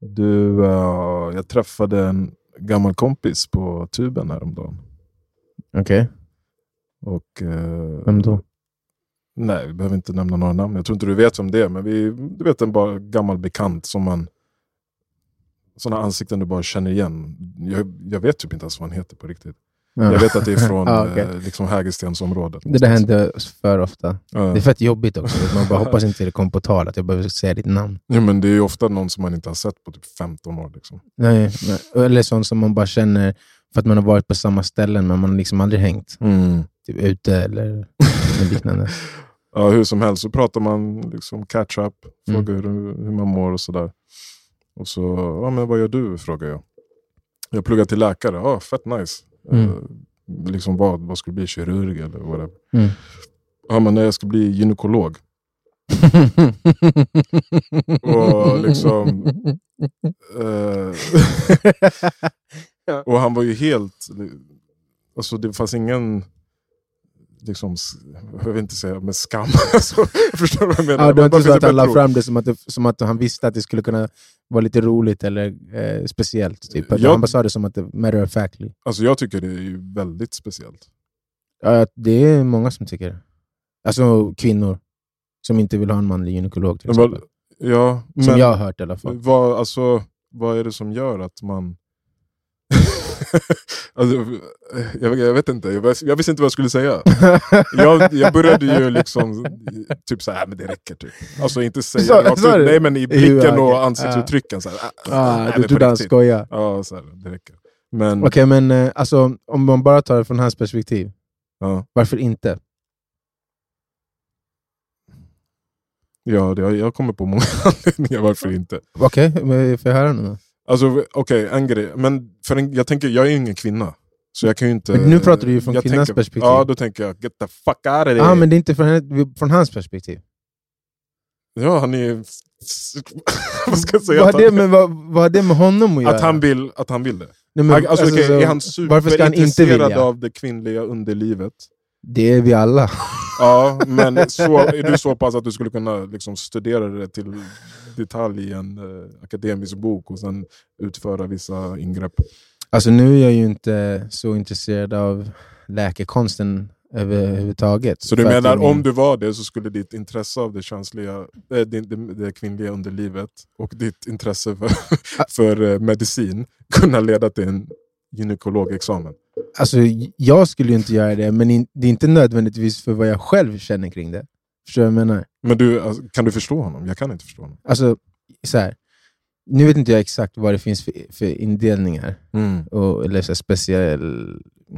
Du, eh, jag träffade en gammal kompis på tuben häromdagen. Okej, Och, eh, vem då? Nej, vi behöver inte nämna några namn. Jag tror inte du vet vem det är, men vi, du vet en bara gammal bekant som man... Sådana ansikten du bara känner igen. Jag, jag vet typ inte ens vad han heter på riktigt. Jag vet att det är från Ja, okej. eh, liksom Hägerstensområdet. Det där händer för ofta. Ja. Det är fett jobbigt också. Man bara hoppas inte det kom på tal att jag behöver säga ditt namn. Ja, men det är ju ofta någon som man inte har sett på typ 15 år. Liksom. Nej, nej. Eller sånt som man bara känner för att man har varit på samma ställen men man har liksom aldrig hängt. Typ ute eller något liknande. Ja, hur som helst så pratar man liksom catch up, Mm. frågar hur, hur man mår och sådär. Och så, ja men vad gör du? frågar jag. Jag pluggar till läkare, ja fett nice. Mm. Eh, liksom vad, vad ska du bli? Kirurg eller whatever? Mm. Ja men nej, jag ska bli gynekolog. Och liksom, eh, och han var ju helt... Alltså det fanns ingen... Liksom, s- jag vill inte säga med skam. Alltså, förstår du vad jag menar? Ja, Men det bara var inte finns så det att han la bättre ord. fram det som att, det som att han visste att det skulle kunna vara lite roligt eller eh, speciellt. Typ. Att Jag- Han bara sa det som att det matter of factly. Alltså jag tycker det är ju väldigt speciellt. Ja, det är många som tycker det. Alltså kvinnor som inte vill ha en manlig gynekolog. Till Men vad- exempel. Ja, men Som jag har hört i alla fall. vad, alltså, vad är det som gör att man... alltså, jag, jag vet inte, jag, vis- jag visste inte vad jag skulle säga. Jag, jag började ju liksom typ såhär, "Äh, men det räcker typ. Alltså inte säga Sa- det rakt sa ut, du? nej men i Ja, blicken okej. och ansiktsuttrycken. Så här, "Äh, ah, nej, du men trodde på han riktigt." skojade. Ja, så här, det räcker. Men, Okej, men eh, alltså, om man bara tar det från hans perspektiv, ja, varför inte? ja, det, jag kommer på många anledningar varför inte. Okej, men får jag höra nu då? Alltså v- okej, en grej. Men för en, jag tänker, jag är ju ingen kvinna. Så jag kan ju inte... Men nu pratar du ju från jag kvinnans tänker, perspektiv. Ja, då tänker jag get the fuck out of ah, here. men det är inte från, henne- från hans perspektiv. Ja, han är... vad ska jag säga? Vad Att har, det han, med, vad, vad har det med honom att göra? att, han vill, att han vill det. Nej, Han- alltså, okej, så- är han varför ska han inte superintresserad vilja? av det kvinnliga underlivet? Det är vi alla. Ja, men så, är du så pass att du skulle kunna liksom, studera det till detalj i en eh, akademisk bok och sen utföra vissa ingrepp? Alltså nu är jag ju inte så intresserad av läkekonsten överhuvudtaget. Så du För att menar jag- om du var det så skulle ditt intresse av det, känsliga, eh, det, det, det kvinnliga underlivet och ditt intresse för, för eh, medicin kunna leda till en gynekologexamen? Alltså, jag skulle ju inte göra det, men in, det är inte nödvändigtvis för vad jag själv känner kring det. Förstår du vad jag menar? Men du, alltså, kan du förstå honom? Jag kan inte förstå honom. Alltså, så här. Nu vet inte jag exakt vad det finns för, för indelningar, och, eller så här speciell,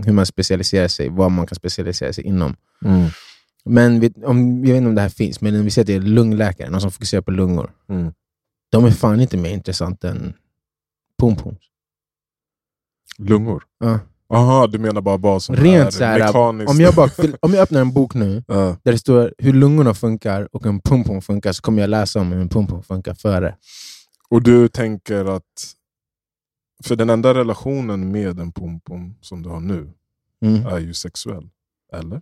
hur man specialiserar sig, vad man kan specialisera sig inom. Men vi, om, jag vet inte om det här finns, men vi säger att det är lungläkare, någon som fokuserar på lungor. Mm. De är fan inte mer intressanta än pom-pom. Lungor? Ja. Aha, du menar bara vad som är Rent så här, mekaniskt? om jag, bara, fyll- om jag öppnar en bok nu, Ja. där det står hur lungorna funkar och en pumpon funkar, så kommer jag läsa om hur en pumpon funkar före. Och du tänker att... För den enda relationen med en pompom som du har nu Mm. är ju sexuell. Eller?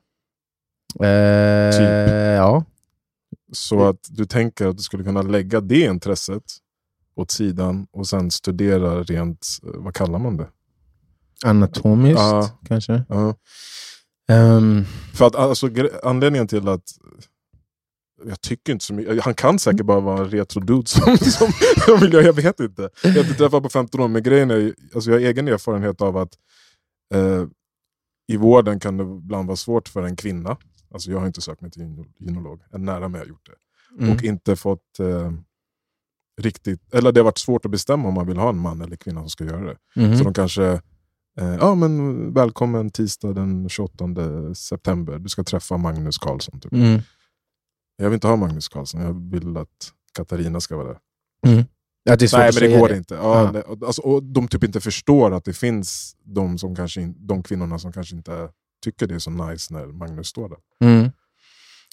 Eh, Typ. Ja. Mm. Så att du tänker att du skulle kunna lägga det intresset åt sidan och sen studera rent, eh, vad kallar man det? Anatomiskt Ja. kanske. Ja. Ehm, För att alltså, gre- anledningen till att jag tycker inte så mycket. Han kan säkert bara vara en retro dude som, som som vill jag, jag vet inte. Jag har inte träffat på 15 år, men grejen är, ju- alltså jag har egen erfarenhet av att eh, i vården kan det ibland vara svårt för en kvinna, alltså jag har inte sökt mig till gyno- gynolog, en nära mig har gjort det. mm. och inte fått eh, riktigt... Eller det har varit svårt att bestämma om man vill ha en man eller kvinna som ska göra det. Mhm. Så de kanske... Eh, ja, men välkommen tisdag den 28 september. Du ska träffa Magnus Karlsson. Typ. Mm. Jag vill inte ha Magnus Karlsson. Jag vill att Katarina ska vara där. Att det är svårt Nej, att men det säga går inte. Ja, Aha. nej, och- alltså, och de typ inte förstår att det finns de, som kanske in, de kvinnorna som kanske inte tycker det är så nice när Magnus står där. Mm.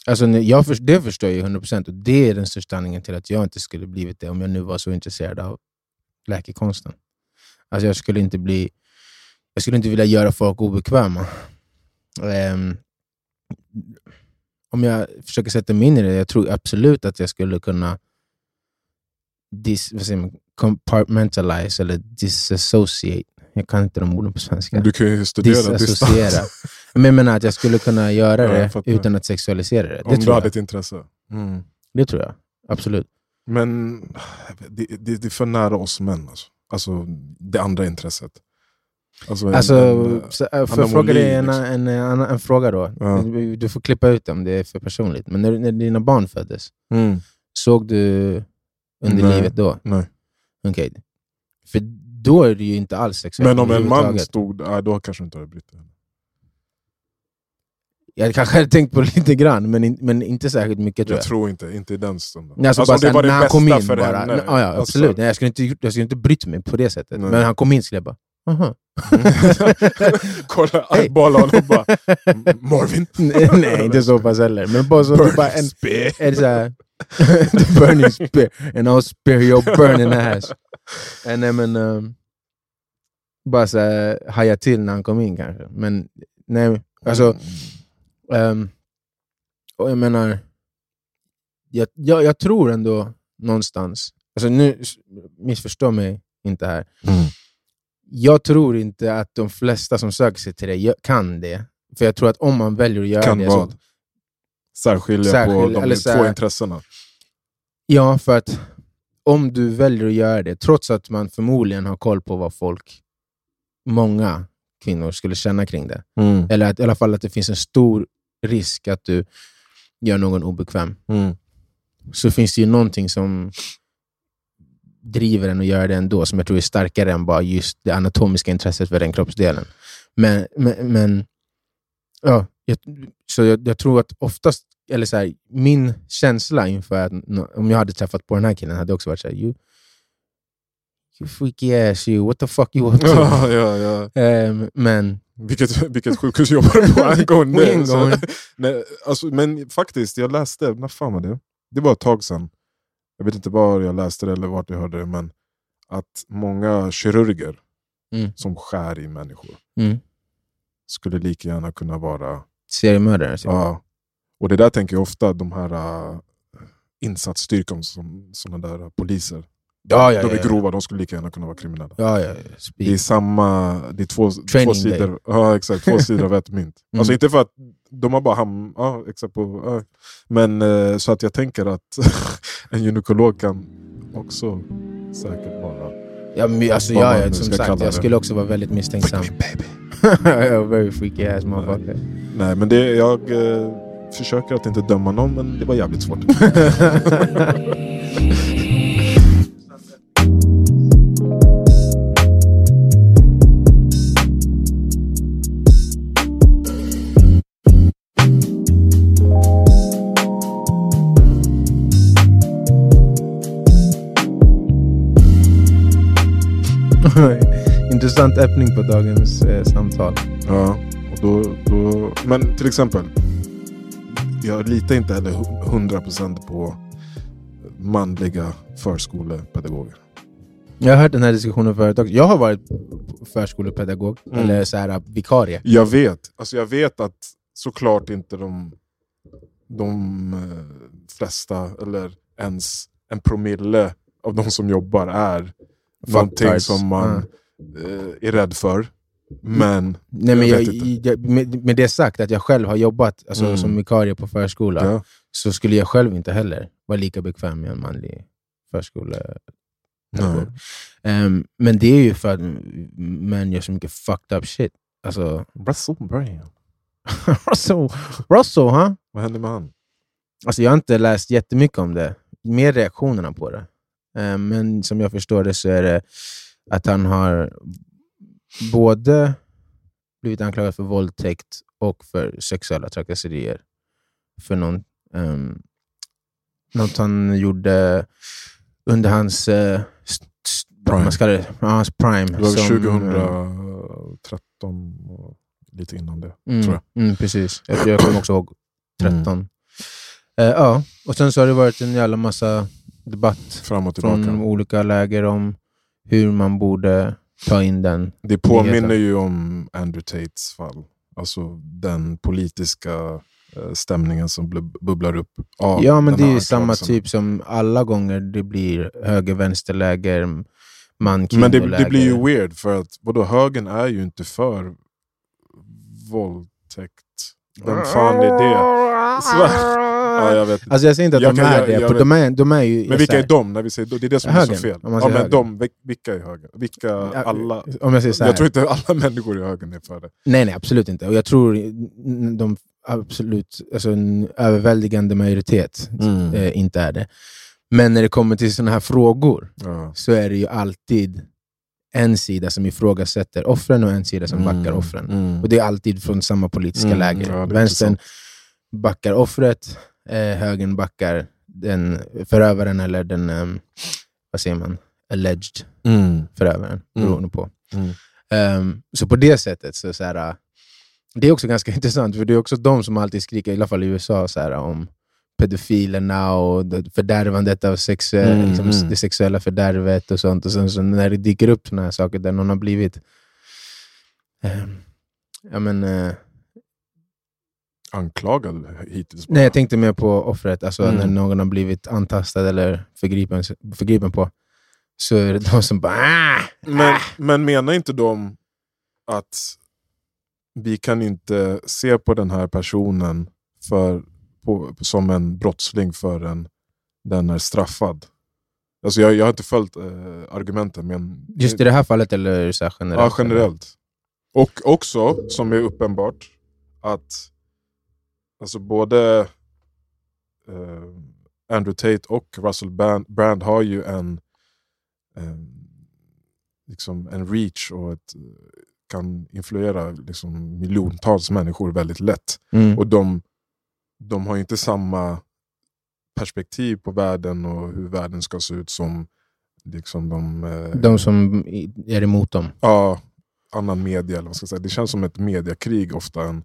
Alltså, nu- jag för, det förstår jag ju 100% och det är den största anledningen till att jag inte skulle blivit det om jag nu var så intresserad av läkekonsten. Alltså, jag, skulle inte bli, jag skulle inte vilja göra folk obekväma. Ehm, om jag försöker sätta mig in i det, jag tror absolut att jag skulle kunna dis, vad säger man, compartmentalize eller disassociate. Jag kan inte de orden på svenska. Du kan ju studera Disassociera. Men jag menar att jag skulle kunna göra Ja, jag det fattar. utan att sexualisera det. Det Om du tror, hade jag. ett intresse. Mm. det tror jag. Absolut. Men det, det, det är för nära oss män. Alltså, alltså det andra intresset. Alltså, Alltså, men, så, äh, får Anna jag fråga dig Molin, en, liksom. en, en, en fråga då? Ja. Du- Du får klippa ut det om det är för personligt. Men när, när dina barn föddes, mm, såg du under Nej. livet då? nej. Okej. För då är det ju inte alls sexuellt Men om en man överhuvudtaget. stod nej, då kanske du inte hade brytt dig. Jag kanske hade tänkt på det lite grann, men, in, men inte särskilt mycket tror Jag jag. tror inte, inte i den stunden. Nej, Alltså, om bara, det när han kom in bara. henne, Ja, ja, alltså, absolut. Nej, jag, skulle inte, gjort- jag skulle inte brytt mig på det sättet. Nej. Men han kom in skulle jag bara, aha. Kolla Hej. eyeballen och bara "M- Marvin. nej, nej, inte så pass heller. Men bara så Burn typ bara en... spear. en så här, the burning spear. And I'll spear your burning ass. And then, men, um, bara så här, haja till när han kom in kanske. Men nej, alltså... Ehm, och jag menar, jag, jag, jag tror ändå någonstans, alltså nu s- missförstå mig inte här. Mm. Jag tror inte att de flesta som söker sig till det gö- kan det. För jag tror att om man väljer att göra Kan det... vad? Så, Särskilja Särskilja, på eller de så här- två intressena. ja, för att om du väljer att göra det, trots att man förmodligen har koll på vad folk, många kvinnor, skulle känna kring det. Eller att, i alla fall att det finns en stor risk att du gör någon obekväm. Mm. så finns det ju någonting som driver en att göra det ändå, som jag tror är starkare än bara just det anatomiska intresset för den kroppsdelen. Men, men, men ja, jag, så jag, jag tror att oftast, eller så här, min känsla inför att nå- om jag hade träffat på den här killen hade också varit så här, you, you freaky ass you, what the fuck you up to? ja, ja, ja. Ehm, men Vilket, vilket sjukhus jobbar du på angående? På en gång. Så- Nej, alltså, men faktiskt, jag läste, när fan var det? Det var ett tag sedan. Jag vet inte var jag läste det eller vart jag hörde det, men att många kirurger Mm. som skär i människor Mm. skulle lika gärna kunna vara seriemördare. Typ. Ja. Och det där tänker jag ofta, de här uh, insatsstyrkan som sådana där äh, poliser. Ja, ja, de är ja, ja. grova, de skulle lika gärna kunna vara kriminella. Ja, ja, Det är speak. samma, det är två, två Training day. sidor, ja, exakt, två sidor av ett mynt. Mm. Alltså inte för att de har bara hamn, ja, exakt på, ja. men eh, så att jag tänker att en gynekolog kan också säkert vara... ja, men, alltså, Vad man ja, ja, nu som ska sagt, kalla jag det. skulle också vara väldigt misstänksam. baby. Ja, Very freaky ass motherfucker. Nej, men det, jag eh, försöker att inte döma någon, men det var jävligt svårt. Intressant öppning på dagens eh, samtal. Ja, och då, då, men till exempel, jag litar inte heller hu- 100% på manliga förskolepedagoger. Jag har hört den här diskussionen förut också. Jag har varit förskolepedagog, Mm. eller så här, vikarie. Jag vet, alltså jag vet att såklart inte de, de eh, flesta eller ens en promille av de som jobbar är någonting Fucktards. som man eh, är rädd för. Men Nej, men Jag jag, vet jag, med, med det sagt, att jag själv har jobbat alltså, Mm. som vikarie på förskola, ja, så skulle jag själv inte heller vara lika bekväm med en manlig förskole... nej. Ehm, men det är ju för att m- män gör så mycket fucked up shit. Alltså, Russell Brand. Russell, Russell huh? Vad hände med han? Alltså jag har inte läst jättemycket om det, mer reaktionerna på det. Eh, Men som jag förstår det så är det att han har både blivit anklagad för våldtäkt och för sexuella trakasserier. För någon, um, något han gjorde under hans... eh, st- st- Prime. Vad man ska kalla det? Ja, hans prime. Det var som, väl eh, 2013 och lite innan det. Mm, tror Mm, precis. Jag, jag kommer också ihåg 13. Mm. Eh, ja, och sen så har det varit en jävla massa debatt Fram och tillbaka. från olika läger om hur man borde ta in den. det påminner nyheter. ju om Andrew Tates fall. Alltså den politiska eh, stämningen som blub- bubblar upp av Ja, men den det är här ju samma anklagelsen. typ som alla gånger det blir höger-vänsterläger, man-kvinnoläger. Men det, det blir ju weird, för att vadå, högern är ju inte för våldtäkt. Vem fan är det? Svär- Ja, jag vet inte. Alltså jag säger inte att Jag de kan- är jag- det, jag för vet. de är, de är ju... Men vilka så är här- de? När vi säger, det är det som är Högern, så fel. om man Ja, säger men högern. de, vil- vilka är högern? Vilka alla? Om jag säger så här. Jag tror inte alla människor i högern är för det. Nej, nej, absolut inte. Och jag tror n- de absolut, alltså en överväldigande majoritet Mm. eh, inte är det. Men när det kommer till sådana här frågor Ja. så är det ju alltid en sida som ifrågasätter offren och en sida som backar Mm. offren. Mm. Och det är alltid från samma politiska Mm, läger. ja, det är Vänstern intressant. backar offret, eh, högern backar den förövaren eller den, ehm, vad säger man, alleged förövaren, beroende på. Mm. Ehm, så på det sättet, så, så här, äh, det är också ganska intressant, för det är också de som alltid skriker, i alla fall i USA, så här, om pedofilerna och det- fördärvandet av sexue- Mm, liksom, mm. det sexuella fördärvet och sånt. Och sen så när det dyker upp såna här saker där någon har blivit ehm, ja, men, eh, Anklagad hittills bara. Nej, jag tänkte mer på offret. Alltså Mm. när någon har blivit antastad eller förgripen, förgripen på. Så är det de som bara "Ah!" Men, men menar inte de att vi kan inte se på den här personen för, på, som en brottsling förrän den är straffad? Alltså jag, jag har inte följt eh, argumenten, men Just i det här fallet eller så här generellt? Ja, generellt. Och också, som är uppenbart, att alltså både eh, Andrew Tate och Russell Brand, Brand har ju en, eh, liksom en reach och ett, kan influera liksom, miljontals människor väldigt lätt. Mm. Och de, de har ju inte samma perspektiv på världen och hur världen ska se ut som liksom, de, eh, De som i- är emot dem. ja, annan media. Eller vad ska jag säga. Det känns som ett mediakrig ofta. Än,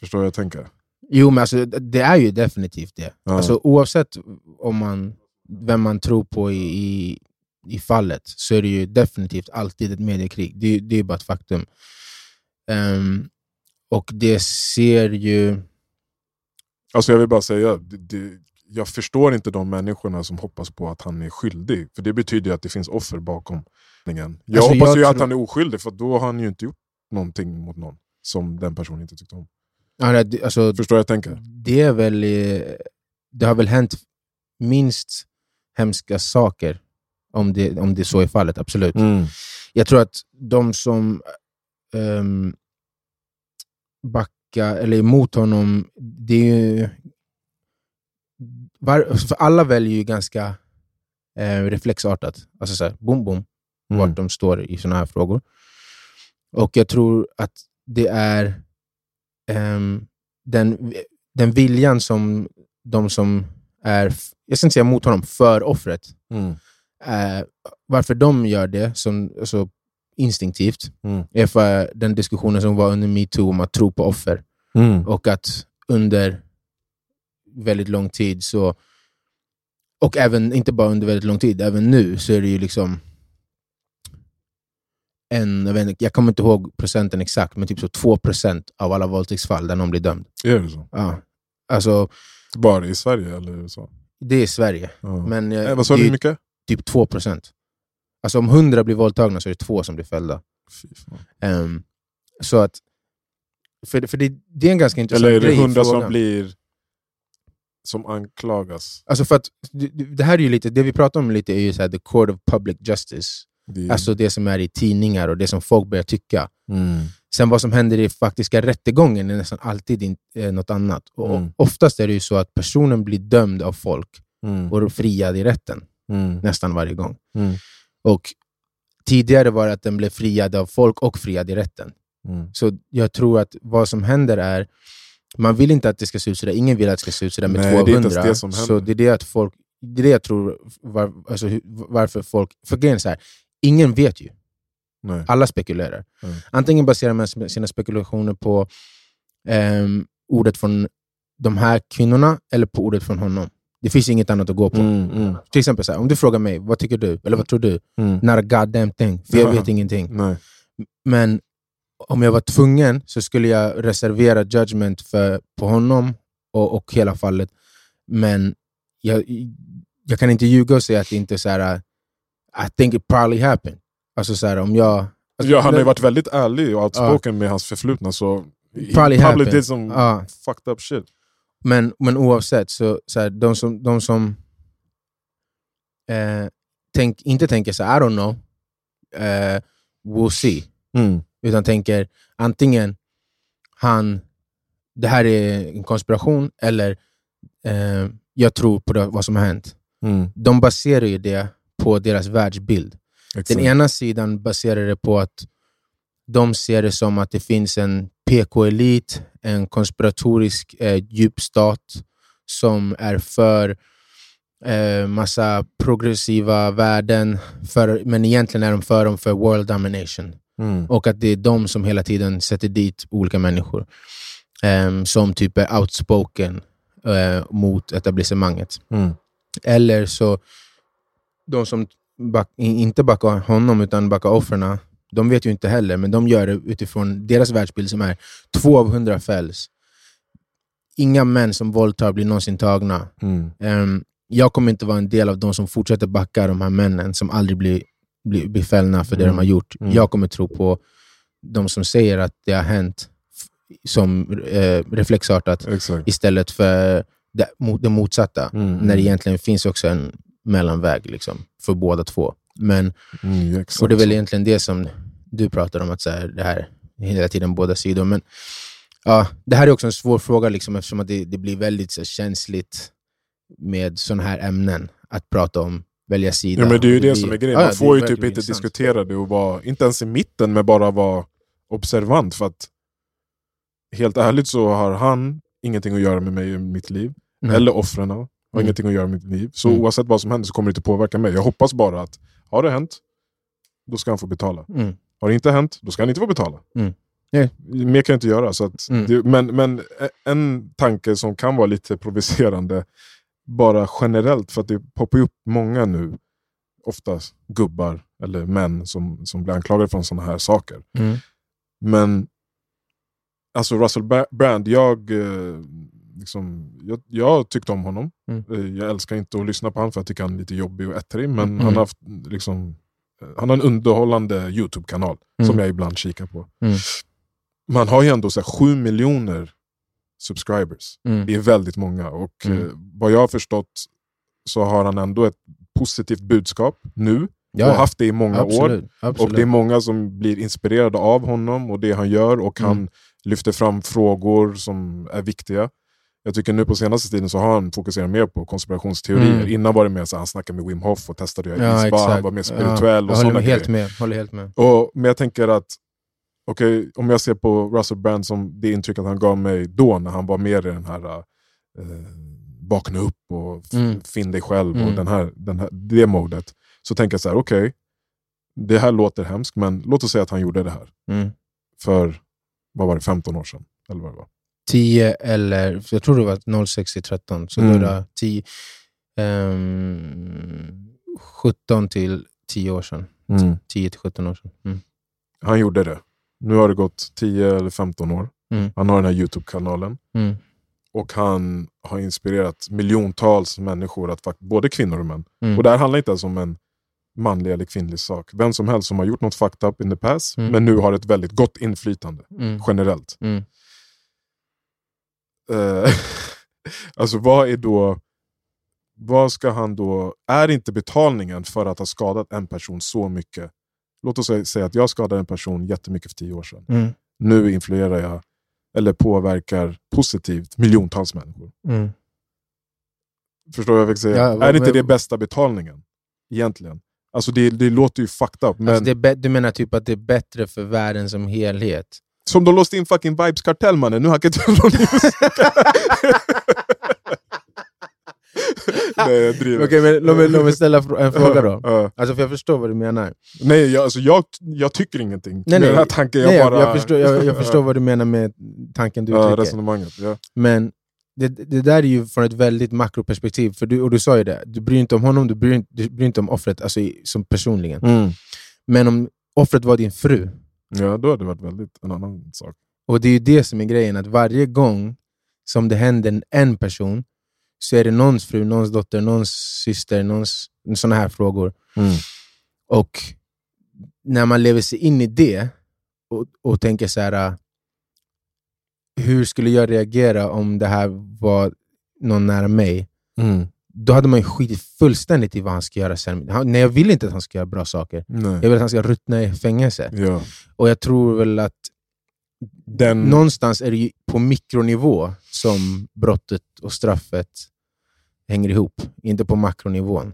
förstår du vad jag tänker? Jo, men alltså, det är ju definitivt det. Ja. Alltså, oavsett om man, vem man tror på i, i, i fallet så är det ju definitivt alltid ett mediekrig. Det, är- det är bara ett faktum. Ehm, och det ser ju... Alltså jag vill bara säga, det, det, jag förstår inte de människorna som hoppas på att han är skyldig. För det betyder ju att det finns offer bakom. handlingen. Jag Alltså, hoppas jag ju att tror- han är oskyldig, för då har han ju inte gjort någonting mot någon som den personen inte tyckte om. ja, det- Alltså, Förstår vad jag tänker? det är väl... eh, Det har väl hänt minst hemska saker, om det, om det så är fallet, absolut. Mm. Jag tror att de som um, backar eller är emot honom, det är ju... Var, för alla väljer ju ganska eh, reflexartat. Alltså såhär, boom, boom, vart de står i sådana här frågor. Och jag tror att det är ehm, den, den viljan som de som är, f- jag ska inte säga mot honom, för offret, Mm. eh, varför de gör det som, alltså, instinktivt Mm. är för den diskussionen som var under metoo om att tro på offer. Och att under väldigt lång tid, så och även, inte bara under väldigt lång tid, även nu så är det ju liksom en, jag, vet inte, jag kommer inte ihåg procenten exakt, men typ så 2% av alla våldtäktsfall där någon blir dömd. Är det så? Ja. Alltså, Bara i Sverige eller USA? det är Sverige. Ja. Men eh, eh, vad det sa är du, ju hur mycket? typ 2%. Alltså om 100 blir våldtagna så är det två som blir fällda. Fy fan. Ehm, så att, för, för det, det är en ganska intressant Eller är det grej i hundra som frågan. blir som anklagas? Alltså för att, det- det det här är ju lite, det vi pratar om lite är ju så här, the court of public justice. Det är- Alltså det som är i tidningar och det som folk börjar tycka. Mm. Sen vad som händer i faktiska rättegången är nästan alltid in, eh, något annat. Och Mm. Oftast är det ju så att personen blir dömd av folk Mm. och friad i rätten Mm. nästan varje gång. Mm. Och Tidigare var det att den blev friad av folk och friad i rätten. Mm. Så jag tror att vad som händer är, man vill inte att det ska se ut sådär, ingen vill att det ska se ut sådär med Nej, det är inte ens 200. det som händer. så det är det att folk, det är det jag tror, var, alltså, hur- varför folk, för grejen är så här, ingen vet ju. Nej. Alla spekulerar. Mm. Antingen baserar man sina- sina spekulationer på ehm, ordet från de här kvinnorna eller på ordet från honom. Det finns inget annat att gå på. Mm, mm, Till exempel, så här, om du frågar mig, vad tycker du? Eller vad tror du? mm. Not a goddamn thing, för jag vet ingenting. Nej. Men om jag var tvungen så skulle jag reservera judgment för, på honom och, och hela fallet. Men jag, jag kan inte ljuga och säga att det inte är så här, I think it probably happened. Alltså så här, om jag... Alltså, Ja, han har ju varit väldigt ärlig och outspoken med hans förflutna. Så he Probably happened. did some Ja. fucked up shit. Men, men oavsett, så, så här, de som, de som eh, tänk, inte tänker så här, I don't know, eh, we'll see. Mm, Utan tänker antingen han, det här är en konspiration, eller eh, jag tror på det, vad som har hänt. mm. De baserar ju det på deras världsbild. Den Exakt. ena sidan baserar det på att de ser det som att det finns en PK-elit, en konspiratorisk eh, djupstat som är för eh, massa progressiva värden, för, men egentligen är de för dem för world domination. Mm. Och att det är de som hela tiden sätter dit olika människor ehm, som typ är outspoken eh, mot etablissemanget. Mm. Eller så, de som back, i- inte backar honom utan backar offren, de vet ju inte heller, men de gör det utifrån deras världsbild som är två av hundra fälls. Inga män som våldtar blir någonsin tagna. Mm. Ehm, jag kommer inte vara en del av de som fortsätter backa de här männen som aldrig blir, blir, blir fällna för det Mm. de har gjort. Mm. Jag kommer tro på de som säger att det har hänt f- som eh, reflexartat Exakt. istället för det, mot, det motsatta. Mm. När det egentligen finns också en mellanväg liksom, för båda två. Men, Mm, exakt. och det är väl egentligen det som du pratar om, att så här, det här hela tiden båda sidor. Men, ja, det här är också en svår fråga liksom, eftersom att det, det blir väldigt så här, känsligt med sådana här ämnen. Att prata om, välja sida. Ja, men det är ju det, blir- som är grejen. Ja, Man det får ju är typ verkligen inte intressant. diskutera det och vara, inte ens i mitten, men bara vara observant. För att helt ärligt så har han ingenting att göra med mig i mitt liv. Nej. Eller offren har Mm. ingenting att göra med mitt liv. Så Mm. oavsett vad som händer så kommer det inte påverka mig. Jag hoppas bara att har det hänt, då ska han få betala. Mm. Har det inte hänt, då ska han inte få betala. Mm. Nej. Mer kan jag inte göra. Så att Mm. det, men, men e- en tanke som kan vara lite provocerande, bara generellt, för att det poppar ju upp många nu, oftast gubbar eller män som, som blir anklagade för sådana här saker. Mm. Men alltså Russell Ba- Brand, jag, eh, liksom, jag, jag tyckte om honom. Mm. Eh, Jag älskar inte att lyssna på honom för jag tycker han är lite jobbig och ettrig. Men Mm. han, har haft, liksom, eh, han har en underhållande YouTube-kanal Mm. som jag ibland kikar på. Mm. Man har ju ändå så här, 7 miljoner subscribers. Mm. Det är väldigt många. Och Mm. eh, vad jag har förstått så har han ändå ett positivt budskap nu. Ja, och ja. haft det i många år. absolut. absolut. Och det är många som blir inspirerade av honom och det han gör och han Mm. lyfter fram frågor som är viktiga. Jag tycker nu på senaste tiden så har han fokuserat mer på konspirationsteorier. Mm. Innan Innan var det mer så han snackade med Wim Hof och testade att göra ja, isbad, exakt. han var mer spirituell och ja, jag håller sådana med- helt grejer. med, håller helt med. Och, men jag tänker att, okej, om jag ser på Russell Brand som det intrycket han gav mig då när han var mer i den här eh, vakna upp och f- Mm. finn dig själv och Mm. den här, den här, det modet. Så tänker jag så här, okej, det här låter hemskt, men låt oss säga att han gjorde det här Mm. för, vad var det, 15 år sedan? Eller vad det var. 10 eller, jag tror det var 06 till 13, så Mm. då är det 10, ehm, 17 till 10 år sedan. 10 till 17 år sedan. Mm. Han gjorde det. Nu har det gått 10 eller 15 år. Mm. Han har den här YouTube-kanalen Mm. och han har inspirerat miljontals människor, att, fakt- både kvinnor och män. Mm. Och det här handlar inte ens om en manlig eller kvinnlig sak. Vem som helst som har gjort något fucked up in the past, Mm. men nu har ett väldigt gott inflytande Mm. generellt. Mm. Eh, alltså vad är då... Vad ska han då... Är inte betalningen för att ha skadat en person så mycket? Låt oss sä- säga att jag skadade en person jättemycket för tio år sedan. Mm. Nu influerar jag, eller påverkar positivt, miljontals människor. Mm. Förstår du vad jag vill säga? Ja, vad- är inte vad- det bästa betalningen? Egentligen. Alltså det, det låter ju fucked up, men Alltså det är bä- du menar typ att det är bättre för världen som helhet? som de låste in fucking Vibes Kartell mannen, nu hackar inte jag någon musik. Nej, jag driver. Okej, men låt mig, låt mig ställa fr- en fråga då. Ja. Alltså, för jag förstår vad du menar. Nej, jag, alltså, jag, jag tycker ingenting. Nej, Med nej. den här tanken, jag Nej, jag, bara... jag, förstår, jag, jag förstår vad du menar med tanken du ja, uttrycker. resonemanget. Ja. Men det, det där är ju från ett väldigt makroperspektiv, för du, och du sa ju det, du bryr dig inte om honom, du bryr, Mm. dig- du bryr dig inte om offret alltså, i- som personligen. Men om offret var din fru, Ja, då hade det varit väldigt en annan sak. Och det är ju det som är grejen, att varje gång som det händer en person så är det någons fru, någons dotter, någons syster, någons, sådana här frågor. Mm. Och när man lever sig in i det och, och tänker så här, äh, hur skulle jag reagera om det här var någon nära mig? Mm. Då hade man ju skitit fullständigt i vad han ska göra sen. Han, nej, jag vill inte att han ska göra bra saker. Nej. Jag vill att han ska ruttna i fängelse. Ja. Och jag tror väl att Den... någonstans är det ju på mikronivå som brottet och straffet hänger ihop, inte på makronivån.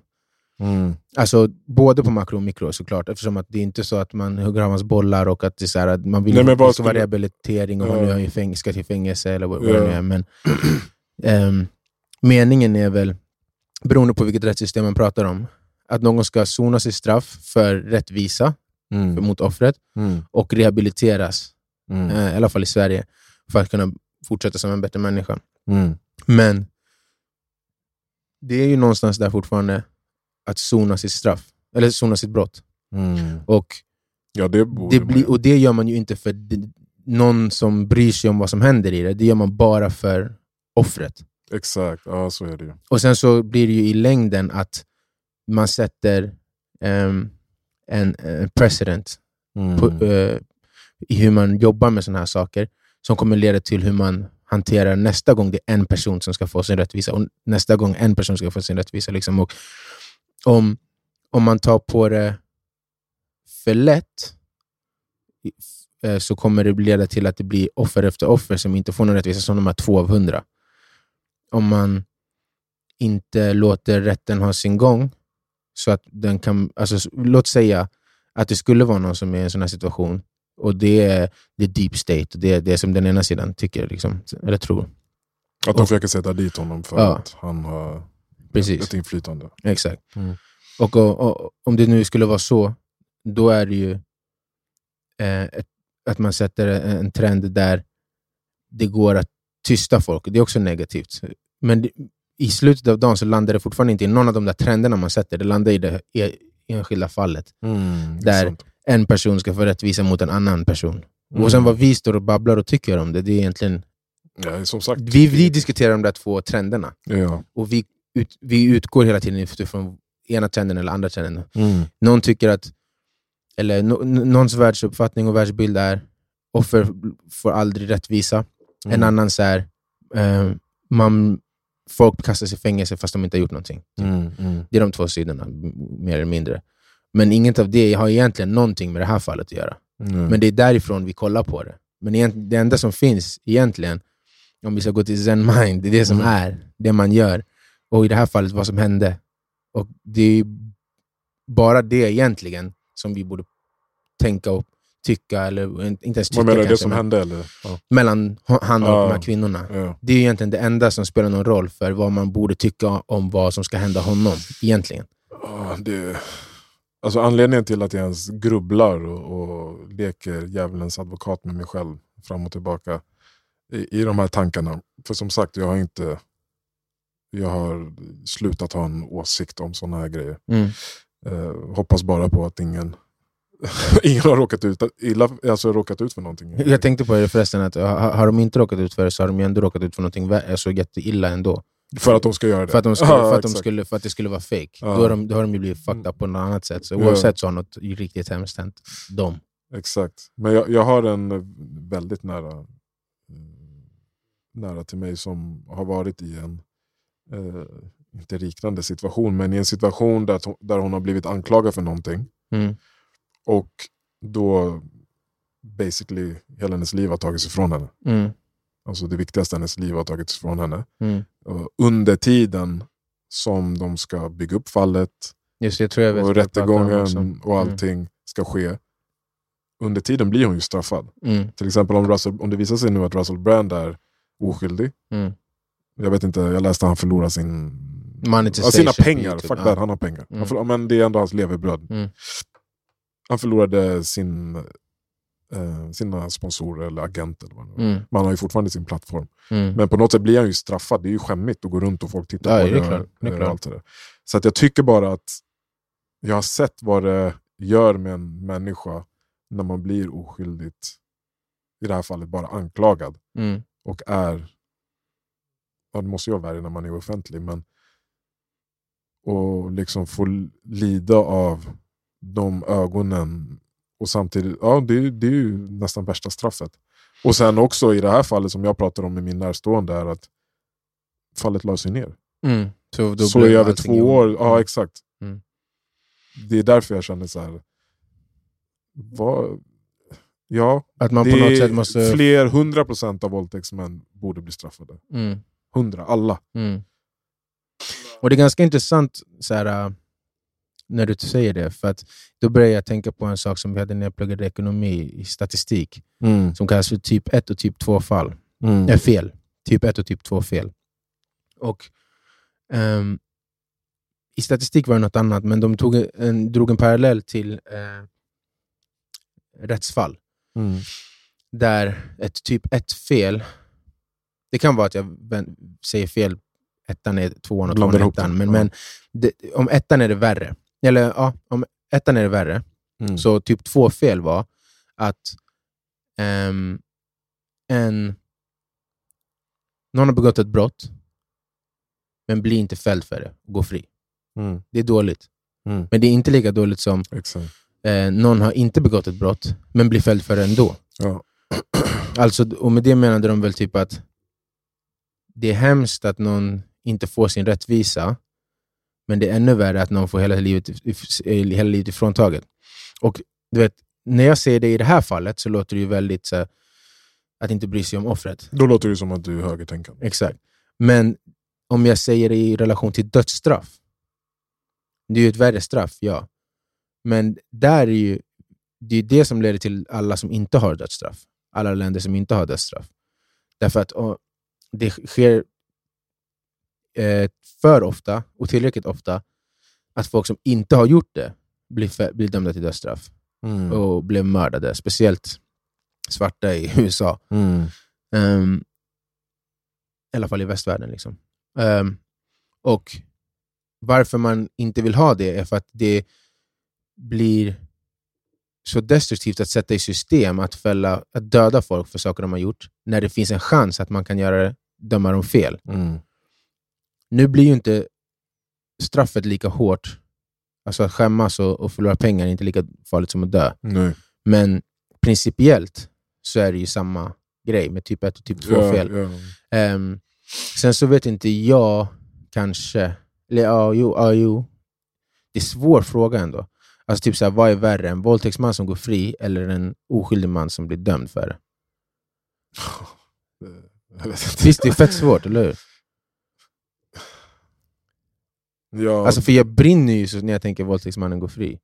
Mm. Alltså både på makro och mikro såklart, eftersom att det är inte så att man hugger av hans bollar och att det är så här, att man vill Nej, men att vad det ska vara skulle- rehabilitering och man Ja. nu är i fäng- ska till fängelse eller vad, vad Ja. det nu är. Men, ehm, meningen är väl, beroende på vilket rättssystem man pratar om, att någon ska sona sitt straff för rättvisa Mm. mot offret Mm. och rehabiliteras Mm. eh, i alla fall i Sverige, för att kunna fortsätta som en bättre människa. Mm. Men det är ju någonstans där fortfarande, att sona sitt straff, eller sona sitt brott. Mm. Och Ja, det borde det, man blir- ju. och det gör man ju inte för d- någon som bryr sig om vad som händer i det, det gör man bara för offret. Exakt, ja så är det ju. Och sen så blir det ju i längden att man sätter ehm, en, eh, en precedent Mm. på, eh, i hur man jobbar med sådana här saker som kommer leda till hur man hanterar nästa gång det är en person som ska få sin rättvisa och nästa gång en person ska få sin rättvisa. Liksom. Och om, om man tar på det för lätt i- eh, så kommer det leda till att det blir offer efter offer som inte får någon rättvisa, som de här två av hundra. Om man inte låter rätten ha sin gång, så att den kan, alltså, s- låt säga att det skulle vara någon som är i en sån här situation och det är, det är deep state, och det är det som den ena sidan tycker, liksom, eller tror. Att de och- försöker sätta dit honom för Ja. att han har Precis, ett inflytande. exakt. Mm. Och, och, och om det nu skulle vara så, då är det ju eh, ett, att man sätter en, en trend där det går att tysta folk. Det är också negativt. Men det, i slutet av dagen så landar det fortfarande inte i någon av de där trenderna man sätter. Det landar i det e- enskilda fallet. Mm. Där. sant. En person ska få rättvisa mot en annan person. Mm. Och sen vad vi står och babblar och tycker om det, det är egentligen... Ja, som sagt. Vi, vi diskuterar de där två trenderna. Ja. Och vi, ut, vi utgår hela tiden utifrån ena trenden eller andra trenden. Mm. Någon tycker att... Eller no, n- någons världsuppfattning och världsbild är offer får aldrig rättvisa. En annan så här, eh, man, folk kastas i fängelse fast de inte har gjort någonting. Mm. Mm. Det är de två sidorna, m- mer eller mindre. Men inget av det har egentligen någonting med det här fallet att göra. Mm. Men det är därifrån vi kollar på det. Men egent- det enda som finns egentligen, om vi ska gå till zen mind, det är det som Mm. är, det man gör. Och i det här fallet vad som hände. Och det är ju bara det egentligen som vi borde tänka och tycka, eller in- inte ens tycka Vad menar du, det kanske, som men hände? Eller? Ja. mellan ho- han och Ja. de här kvinnorna. Ja. Det är ju egentligen det enda som spelar någon roll för vad man borde tycka om vad som ska hända honom, egentligen. Ja, det... Alltså anledningen till att jag ens grubblar och, och leker djävulens advokat med mig själv fram och tillbaka i, i de här tankarna. För som sagt, jag har inte jag har slutat ha en åsikt om sådana här grejer. Eh, hoppas bara på att ingen, ingen har råkat ut, illa, alltså råkat ut för någonting. Jag tänkte på det förresten, att har, har de inte råkat ut för det så har de ju ändå råkat ut för någonting vä- alltså, jätteilla ändå. för att de ska göra det. För att, de skulle, Ja, för, att de exakt. skulle, för att det skulle vara fake. Ja. Mm. Då, har de, då har de ju blivit fucked up på något annat sätt. Så Ja. oavsett så har något riktigt hemskt hänt dem. Exakt. Men jag, jag har en eh, väldigt nära, eh, nära till mig som har varit i en, eh, inte liknande situation, men i en situation där, to- där hon har blivit anklagad för någonting. Mm. Och då basically hela hennes liv har tagits ifrån henne. Mm. Alltså det viktigaste i hennes liv har tagits ifrån henne. Mm. Och under tiden som de ska bygga upp fallet, Just det, jag tror jag vet och vad du pratar om också. Mm. rättegången och allting ska ske. Under tiden blir hon ju straffad. Mm. Till exempel om, Russell, om det visar sig nu att Russell Brand är oskyldig. Mm. Jag vet inte, jag läste att han förlorar sin, ja, Monetization sina på pengar. YouTube, Fuck ja. that, han har pengar. Mm. Han förlorar, men det är ändå hans levebröd. Mm. Han förlorade sin, eh, sina sponsorer eller agenter. Eller vad det var. Mm. Men han har ju fortfarande sin plattform. Mm. Men på något sätt blir han ju straffad. Det är ju skämmigt att gå runt och folk tittar Ja, på det är och- klart. Det är och klart. allt det där. Så att jag tycker bara att jag har sett vad det gör med en människa när man blir oskyldigt, i det här fallet bara anklagad, Mm. och är... Ja, det måste ju vara värre när man är offentlig, men... Och liksom få lida av de ögonen. Och samtidigt, ja det, är- det är ju nästan värsta straffet. Och sen också i det här fallet som jag pratar om med min närstående är att fallet lades ju ner. Mm. Så, då så blev i över allting två ihop. år, ja exakt. Mm. Det är därför jag känner så här. Vad, ja, Att man det på något är sätt måste... fler hundra procent av våldtäktsmän borde bli straffade. Mm. Hundra, alla. Mm. Och det är ganska intressant så här, äh, när du säger det, för att då börjar jag tänka på en sak som vi hade när jag pluggade ekonomi i statistik, Mm, som kallas för typ 1 och typ 2-fall. Nej, fel. Typ 1 och typ 2 fel. Och ehm, I statistik var det något annat, men de tog en, drog en parallell till eh, rättsfall. Mm. Där ett typ 1-fel, det kan vara att jag vän- säger fel, ettan är tvåan och Blandar tvåan är ihop ettan, dem, men, ja. men det, om ettan är det värre. Eller ja, om ettan är det värre, Mm. så typ två fel var att ehm, en, någon har begått ett brott, men blir inte fälld för det och går fri. Mm. Det är dåligt. Mm. Men det är inte lika dåligt som Exakt. eh, någon har inte begått ett brott, men blir fälld för det ändå. Ja. Alltså, och med det menade de väl typ att det är hemskt att någon inte får sin rättvisa, men det är ännu värre att någon får hela livet, if- hela livet ifråntaget. Och du vet, när jag säger det i det här fallet så låter det ju väldigt så här, att inte bry sig om offret. Då låter det som att du är högertänkande. Exakt. Men om jag säger det i relation till dödsstraff, det är ju ett värre straff, ja. Men där är ju, det är ju det som leder till alla som inte har dödsstraff. Alla länder som inte har dödsstraff. Därför att och, det sker eh, för ofta, och tillräckligt ofta, att folk som inte har gjort det blir, fä- blir dömda till dödsstraff Mm. och blir mördade. Speciellt svarta i USA. Mm. Ehm, I alla fall i västvärlden. Liksom. Ehm, och Varför man inte vill ha det är för att det blir så destruktivt att sätta i system att, fälla, att döda folk för saker de har gjort, när det finns en chans att man kan göra det, döma dem fel. Mm. Nu blir ju inte straffet lika hårt. Alltså att skämmas och, och förlora pengar är inte lika farligt som att dö. Nej. Men principiellt så är det ju samma grej med typ 1 och typ 2 Ja, fel. ja. Ehm, sen så vet inte jag kanske, eller ja, jo, ja, jo. Det är en svår fråga ändå. Alltså typ så här, vad är värre, en våldtäktsman som går fri eller en oskyldig man som blir dömd för det? Jag vet inte. Visst, det är fett svårt, eller hur? Ja. Alltså för jag brinner ju så när jag tänker våldtäktsmannen går fri.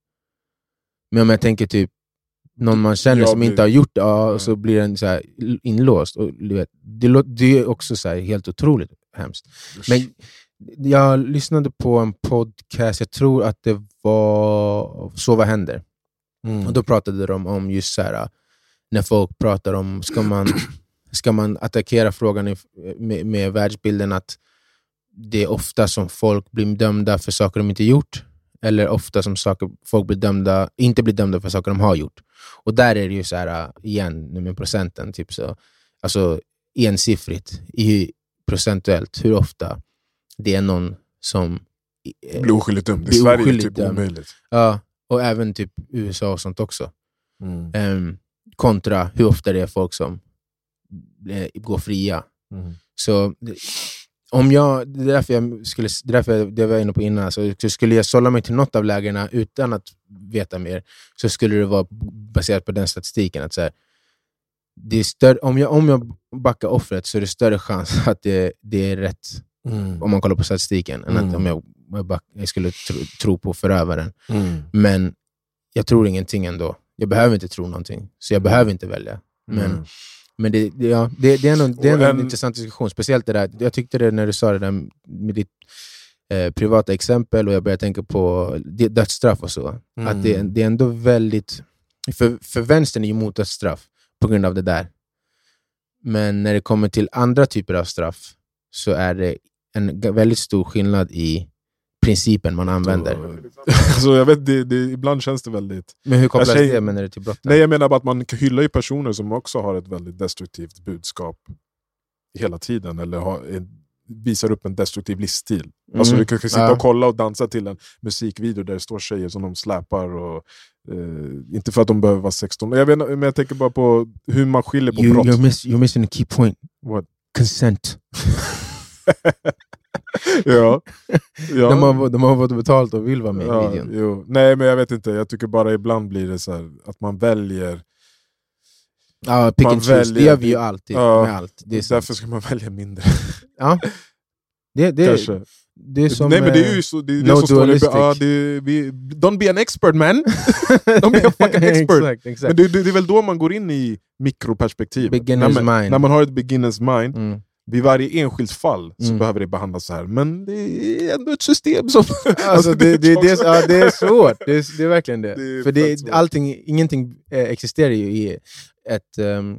Men om jag tänker typ någon man känner Jag som inte blir- har gjort det, ja, Ja. så blir den så här inlåst. Och, du vet, det, lå- det är också så här helt otroligt hemskt. Men jag lyssnade på en podcast, jag tror att det var Så vad händer? Mm. Och Då pratade de om just så här, äh, när folk pratar om, ska man, ska man attackera frågan i, med, med världsbilden att det är ofta som folk blir dömda för saker de inte gjort, eller ofta som saker, folk blir dömda, inte blir dömda för saker de har gjort. Och där är det ju så här, äh, igen, nu med procenten, typ så, alltså ensiffrigt, i, procentuellt, hur ofta det är någon som... eh, Bli oskyldigt dömd. I Bli Sverige är det oskyldigt typ dömd. omöjligt. Ja, och även typ USA och sånt också. Mm. Ehm, kontra hur ofta det är folk som eh, går fria. Mm. Så det- om jag, det är därför jag, skulle, det är därför jag det var jag inne på innan, alltså, så skulle jag sålla mig till något av lägena utan att veta mer, så skulle det vara baserat på den statistiken. Att så här, det är större, om, jag, om jag backar offret så är det större chans att det, det är rätt, Mm. om man kollar på statistiken, än att Mm. om jag, jag, back, jag skulle tro, tro på förövaren. Mm. Men jag tror ingenting ändå. Jag behöver inte tro någonting, så jag behöver inte välja. Men, Mm. men det, det, ja, det, det är ändå, det är Och ändå en, en- intressant diskussion. Speciellt det där, jag tyckte det när du sa det där med ditt eh, privata exempel och jag började tänka på d- dödsstraff och så. Mm. Att det, det är ändå väldigt... För, för vänstern är ju emot dödsstraff på grund av det där. Men när det kommer till andra typer av straff så är det en g- väldigt stor skillnad i principen man Mm. använder. så Alltså, jag vet, det, det, ibland känns det väldigt... Men hur kopplas Jag säger- det menar du till brotten? Nej, jag menar bara att man hyllar ju personer som också har ett väldigt destruktivt budskap hela tiden, eller har, är, visar upp en destruktiv livsstil. Alltså, Mm. du kan ju sitta Ja. och kolla och dansa till en musikvideo där det står tjejer som de släpar. Och, eh, inte för att de behöver vara 16, jag, vet, inte, men jag tänker bara på hur man skiljer på you, brott. you're, miss, you're missing a key point. What? Consent. ja. Ja. De, har, de har fått betalt och vill vara med i Ja, videon. jo. Nej, men jag vet inte. Jag tycker bara ibland blir det så här att man väljer. Ja, pick Man and choose. Det väljer- gör vi ju alltid Ja. med allt. Det är, så. Därför ska man välja mindre. Ja. Det, det, Kanske. det är som... Nej, men det är eh, ju så. Det, är no det som står i- dualistic. ja, det är- vi, Don't be an expert man! Don't be a fucking expert. eh, exakt, exakt. men det, det, det är väl då man går in i mikroperspektiv. Beginner's när, man, mind. när man har ett beginner's mind. Mm. Vid varje enskilt fall så Mm. behöver det behandlas så här. Men det är ändå ett system som... Alltså, det, det, det, är- ja, det är svårt, det är, det är verkligen det. Det är För fett det, svårt. allting, ingenting eh, existerar ju i ett ehm,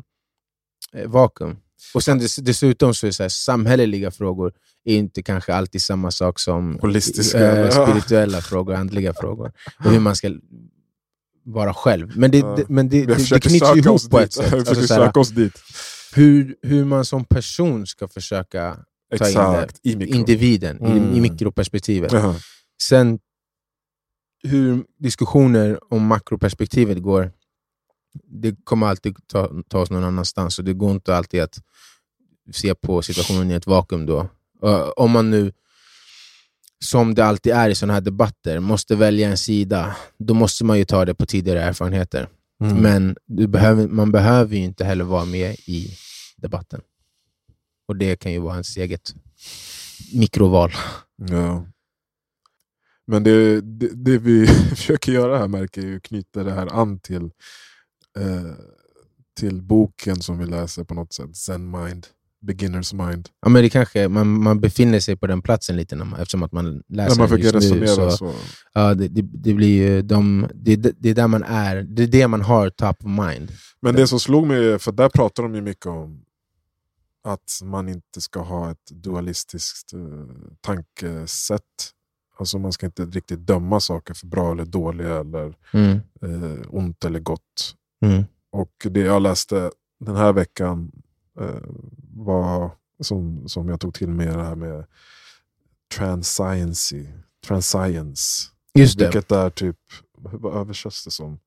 eh, vakuum. Och sen dess, dessutom så är det så här, samhälleliga frågor är inte kanske alltid samma sak som Holistiska, eh, eller? Ja. spirituella frågor, andliga frågor. Och hur man ska vara själv. Men det, Ja. det, men det, Vi det, det försöker knyts ju söka oss ihop på dit. ett sätt. Vi Alltså, försöker så här, söka oss dit. hur, hur man som person ska försöka in det. Exakt, i mikro. individen i, i Mm. mikroperspektivet. Jaha. Sen hur diskussioner om makroperspektivet går, det kommer alltid ta, ta oss någon annanstans. Så det går inte alltid att se på situationen i ett vakuum då. Ö, om man nu, som det alltid är i sådana här debatter, måste välja en sida, då måste man ju ta det på tidigare erfarenheter. Mm. Men du behöver, man behöver ju inte heller vara med i debatten. Och det kan ju vara ens eget mikroval. Ja. Men det, det, det vi försöker göra här märker jag ju knyta det här an till, eh, till boken som vi läser på något sätt. Zen Mind, Beginner's Mind. Ja, men det kanske, man, man befinner sig på den platsen lite när man, eftersom att man läser Där man den försöker Alltså, just nu. resonera Så, så. ja, det, det, det, blir ju de, det, det är där man är, det är det man har top of mind. Men det som slog mig, är- för där pratar de ju mycket om att man inte ska ha ett dualistiskt eh, tankesätt. Alltså man ska inte riktigt döma saker för bra eller dåliga eller Mm. eh, ont eller gott. Mm. Och det jag läste den här veckan eh, var, som, som jag tog till mig det här med transciency. Transcience. Just det. Vilket är typ, vad översätts det som?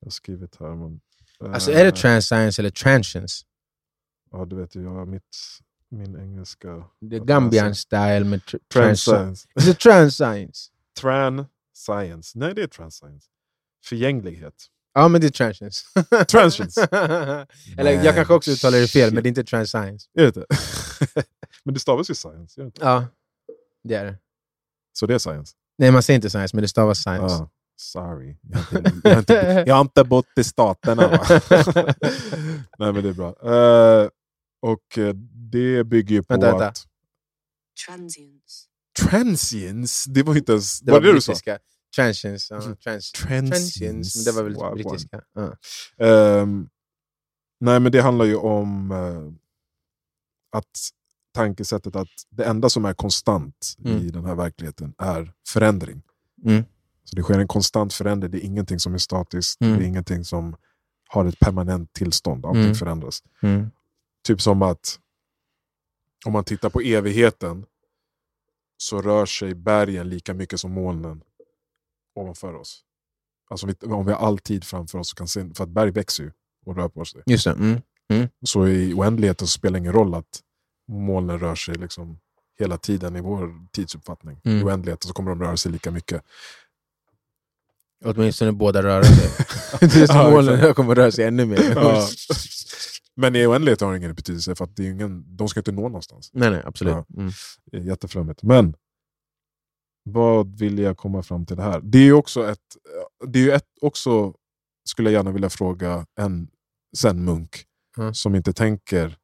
Jag har skrivit här. Men, eh, Alltså är det transscience eller transience? Ja, du vet ju, jag, mitt, min engelska. Det är Gambian style med tr- trans... Transcience. Is it transscience? Transcience. Nej, det är transcience. Förgänglighet. Ja, men det är transience. Transience. eller jag Men kanske också uttalar det fel, shit. men det är inte transscience. Är det inte? men det stavas ju science, gör det inte? Ja, det är det. Så det är science? Nej, man säger inte science, men det stavas science. Ah, sorry. Jag har, inte, jag, har inte, jag har inte bott i staterna. Va? Nej, men det är bra. Eh, och eh, det bygger ju på Vänta, vänta. att... Transience. Transience? Det var inte ens... Det var var, det det du sa? brittiska. Transience. Ja, trans transience. Men det var väl Wow, wow. brittiska. Ja. Ehm, nej, men det handlar ju om eh, att tankesättet att det enda som är konstant i Mm. den här verkligheten är förändring. Mm. Så det sker en konstant förändring. Det är ingenting som är statiskt. Mm. Det är ingenting som har ett permanent tillstånd. Allting Mm. förändras. Mm. Typ som att om man tittar på evigheten så rör sig bergen lika mycket som molnen ovanför oss. Alltså om vi, om vi har all tid framför oss, så kan se, för att berg växer ju och rör på sig. Just det. Mm. Så i oändligheten så spelar det ingen roll att molnen rör sig liksom hela tiden i vår tidsuppfattning. I Mm. oändligheten så kommer de röra sig lika mycket. Åtminstone båda röra sig. Tills Ja, exakt. molnen kommer röra sig ännu mer. Ja. Men i oändligheten har det ingen betydelse för att det är ingen, de ska inte nå någonstans. Nej, nej, absolut. Ja. Mm. Det är Jätteflummigt. eh, Men vad vill jag komma fram till det här? Det är ju också ett, eh, det är ju ett också skulle jag gärna vilja fråga en zen-munk Mm. som inte tänker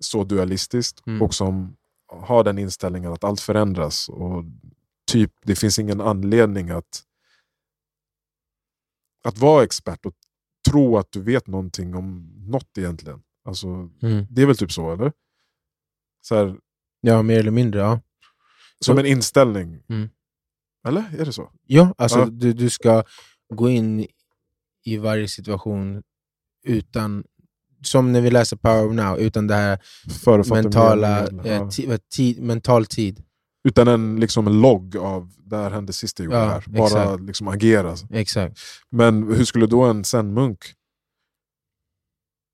så dualistiskt Mm. och som har den inställningen att allt förändras. Och typ Det finns ingen anledning att, att vara expert och tro att du vet någonting om något egentligen. Alltså, Mm. det är väl typ så, eller? Så här, ja, mer eller mindre. Ja. Som en inställning. Mm. Eller? Är det så? Ja, alltså Ja. Du, du ska gå in i varje situation utan, som när vi läser Power of Now, utan det här Förutfattade mentala, meningar, eh, ja. ti, vad, tid, mental tid. Utan en, liksom, en logg av det här hände sist jag gjorde Ja, det här. Bara exakt. liksom, agera. Exakt. Men hur skulle då en zen-munk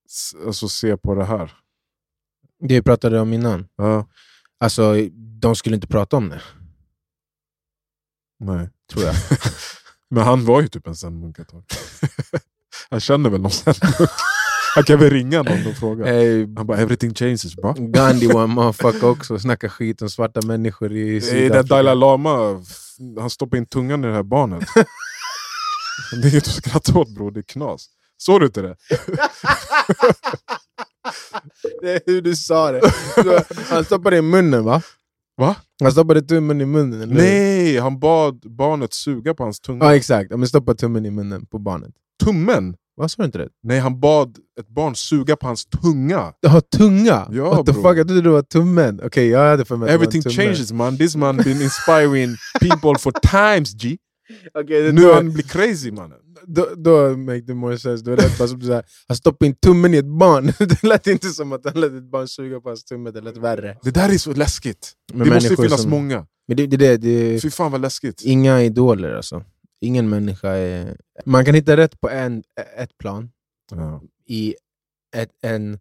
s- alltså, se på det här? Det vi pratade om innan. Ja, Alltså, de skulle inte prata om det, nej. tror jag. Men han var ju typ en zen-munk ett tag. han känner väl någon zen-munk? Han kan väl ringa någon och fråga. Eh, Han bara “everything changes bra”. Gandhi var en motherfucker också, snackar skit om svarta människor i Det är Sydafrika. Eh, den Dalai Lama, f- han stoppar in tungan i det här barnet. det är inget att skratta åt bror, det är knas. Såg du inte det? Det är hur du sa det. Så, han stoppade i munnen va? Va? Han stoppade tummen i munnen. eller hur? Nej, han bad barnet suga på hans tunga. Ja exakt, Ja, men stoppa tummen i munnen på barnet. Tummen? Vad sa du inte det? Nej, han bad ett barn suga på hans tunga. Jaha, tunga? Ja, What the bro. fuck, jag trodde det var tummen. Okej, jag hade för mig att det var en Everything tumme. changes man, this man been inspiring people for times G. Okej, det- Nu då- han blir crazy mannen. då, då make the more sense. Då lät bara som du sa, han stoppade in tummen i ett barn. det lät inte som att han lät ett barn suga på hans tumme, det lät värre. Det där är så läskigt. Men det måste ju människor finnas som- många. Men det, det, det, det, Fy fan vad läskigt. Inga idoler alltså. Ingen människa är... Man kan hitta rätt på en, ett plan Ja. i ett, en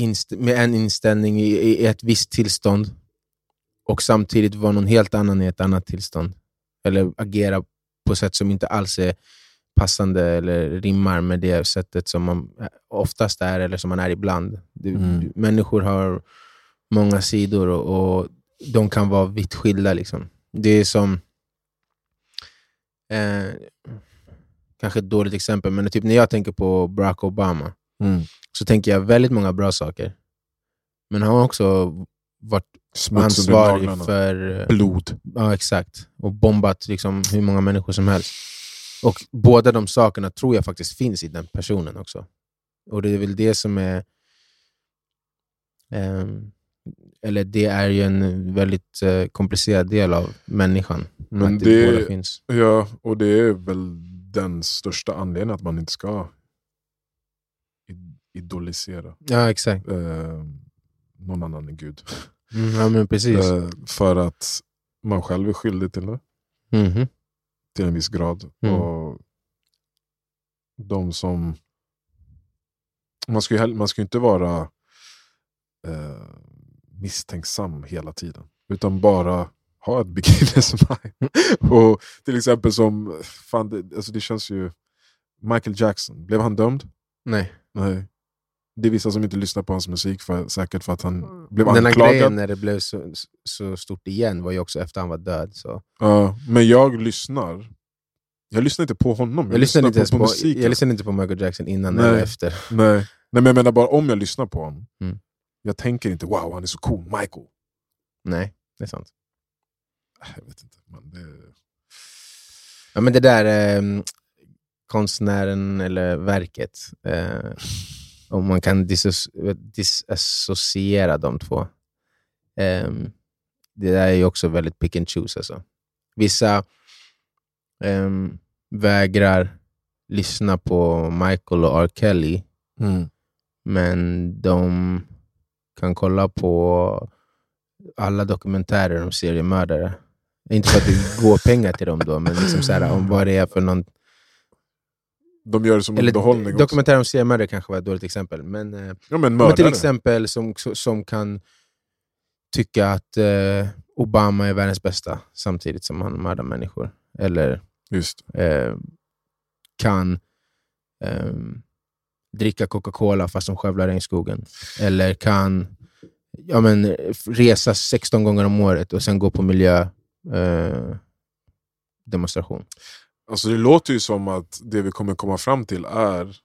inst- med en inställning i, i ett visst tillstånd och samtidigt vara någon helt annan i ett annat tillstånd. Eller agera på sätt som inte alls är passande eller rimmar med det sättet som man eh, oftast är eller som man är ibland. Du, Mm. du, människor har många sidor och, och de kan vara vitt skilda. Liksom. Det är som... Eh, kanske ett dåligt exempel, men typ när jag tänker på Barack Obama Mm. så tänker jag väldigt många bra saker. Men han har också varit Smuts under ansvarig naglarna. för... Blod. Ja, exakt. Och bombat liksom, hur många människor som helst. Och båda de sakerna tror jag faktiskt finns i den personen också. Och det är väl det som är... ehm, eller det är ju en väldigt eh, komplicerad del av människan. Men att det- båda finns. Ja, och det är väl den största anledningen att man inte ska i- idolisera Ja, exakt. eh, någon annan än Gud. Mm, ja, men precis. Eh, för att man själv är skyldig till det, Mhm. till en viss grad. Mm. Och de som... Man ska ju, hell- man ska ju inte vara eh, misstänksam hela tiden, utan bara ha ett begiveness mind. Mm. och till exempel som, fan, det, alltså det känns ju... Michael Jackson, blev han dömd? Nej. Nej. Det är vissa som inte lyssnar på hans musik för, säkert för att han blev Den här anklagad. grejen när det blev så, så stort igen var ju också efter han var död. Mm, Så. Ja, men jag lyssnar. Jag lyssnar inte på honom, jag, Jag, lyssnade inte lyssnar ens på, på, på, musiken. jag lyssnade inte på Michael Jackson innan Nej. eller efter. Nej. Nej, men jag menar bara om jag lyssnar på honom. Mm. Jag tänker inte wow, han är så cool, Michael. Nej, det är sant. Äh, Jag vet inte, men det... Ja, men det där eh, konstnären eller verket, eh, om man kan disso- disassociera de två. Eh, det där är ju också väldigt pick and choose. Alltså. Vissa eh, vägrar lyssna på Michael och R. Kelly, Mm. men de kan kolla på alla dokumentärer om seriemördare. Inte för att det går pengar till dem då, men liksom så här, om vad det är för någon... De gör det som underhållning Eller också. dokumentärer om seriemördare kanske var ett dåligt exempel, men, eh, Ja, men men till mördare. exempel som, som kan tycka att eh, Obama är världens bästa samtidigt som han mördar människor. Eller Just. eh, kan eh, dricka Coca-Cola fast de skövlar regnskogen. Eller kan ja, men, resa 16 gånger om året och sen gå på miljödemonstration. Eh, demonstration. Alltså, det låter ju som att det vi kommer komma fram till är,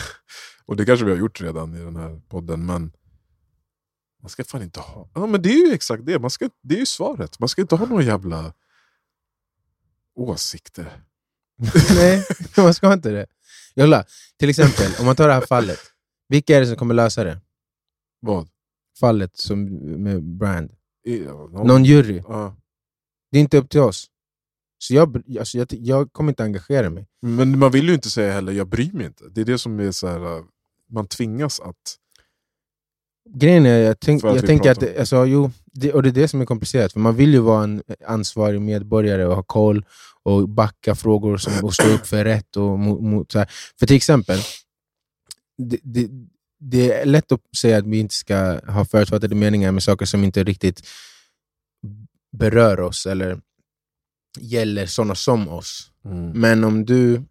och det kanske vi har gjort redan i den här podden, men man ska fan inte ha... Ja, men det är ju exakt det, man ska, det är ju svaret. Man ska inte ha några jävla åsikter. Nej, man ska inte det. Jolla, till exempel, om man tar det här fallet. Vilka är det som kommer lösa det? Vad? Fallet som, med Brand. I- ja, någon- Någon jury. Ja. Det är inte upp till oss. Så jag, br- alltså jag, jag kommer inte engagera mig. Men man vill ju inte säga heller, jag bryr mig inte. Det är det som är så här, eh, man tvingas att... Grejen är, jag, tänk, För att jag vi tänker att pratar om det- alltså, jo, det, och det är det som är komplicerat. För man vill ju vara en ansvarig medborgare och ha koll och backa frågor som, och stå upp för rätt. Och mot, mot, så här. För till exempel, det, det, det är lätt att säga att vi inte ska ha förutfattade meningar med saker som inte riktigt berör oss eller gäller sådana som oss. Mm, Men om du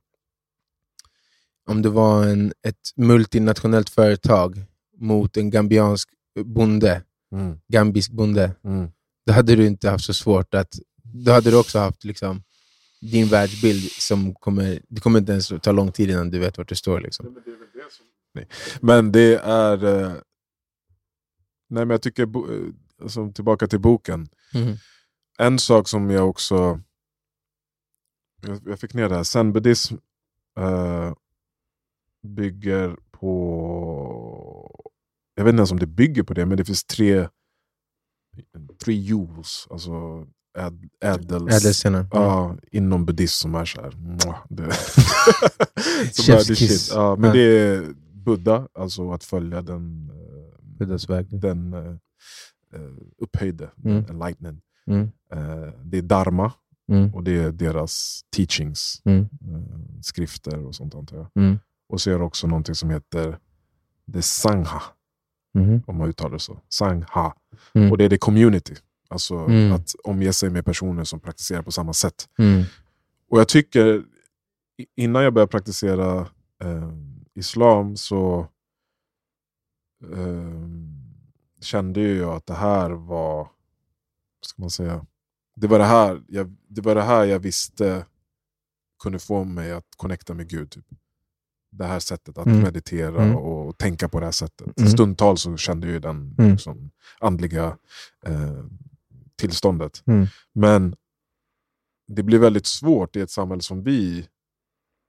om det var en, ett multinationellt företag mot en gambiansk bonde, Mm. gambisk bonde, Mm. då hade du inte haft så svårt att... Då hade du också haft liksom, din världsbild som kommer... Det kommer inte ens att ta lång tid innan du vet vart du står. Liksom. Men det är... eh, Nej, men jag tycker, bo- eh, alltså, tillbaka till boken. En sak som jag också... Jag, jag fick ner det här. Zenbuddism eh, bygger på... Jag vet inte ens om det bygger på det, men det finns tre... Tre jewels, alltså äd, ädels... Ädelstenar. Ja, inom buddhism som är så här... mwah, Det, som är Chef's det kiss. shit. Ja, men Ja. det är Buddha, alltså att följa den, eh, Buddhas väg. den eh, eh, upphöjde, Mm. enlightened. Mm. Eh, det är dharma Mm. och det är deras teachings, Mm. eh, skrifter och sånt antar jag. Mm. Och så är det också någonting som heter det sangha, Mhm. om man uttalar det så. Sangha. Mm. Och det är det community, alltså Mm. att omge sig med personer som praktiserar på samma sätt. Mm. Och jag tycker, i- innan jag började praktisera eh, islam så eh, kände ju jag att det här var, vad ska man säga, det var det här jag, det var det här jag visste kunde få mig att connecta med Gud. Typ. Det här sättet att Mm. meditera Mm. och tänka på det här sättet. Mm. Stundtals så kände jag ju den Mm. liksom, andliga eh, tillståndet. Mm. Men det blir väldigt svårt i ett samhälle som vi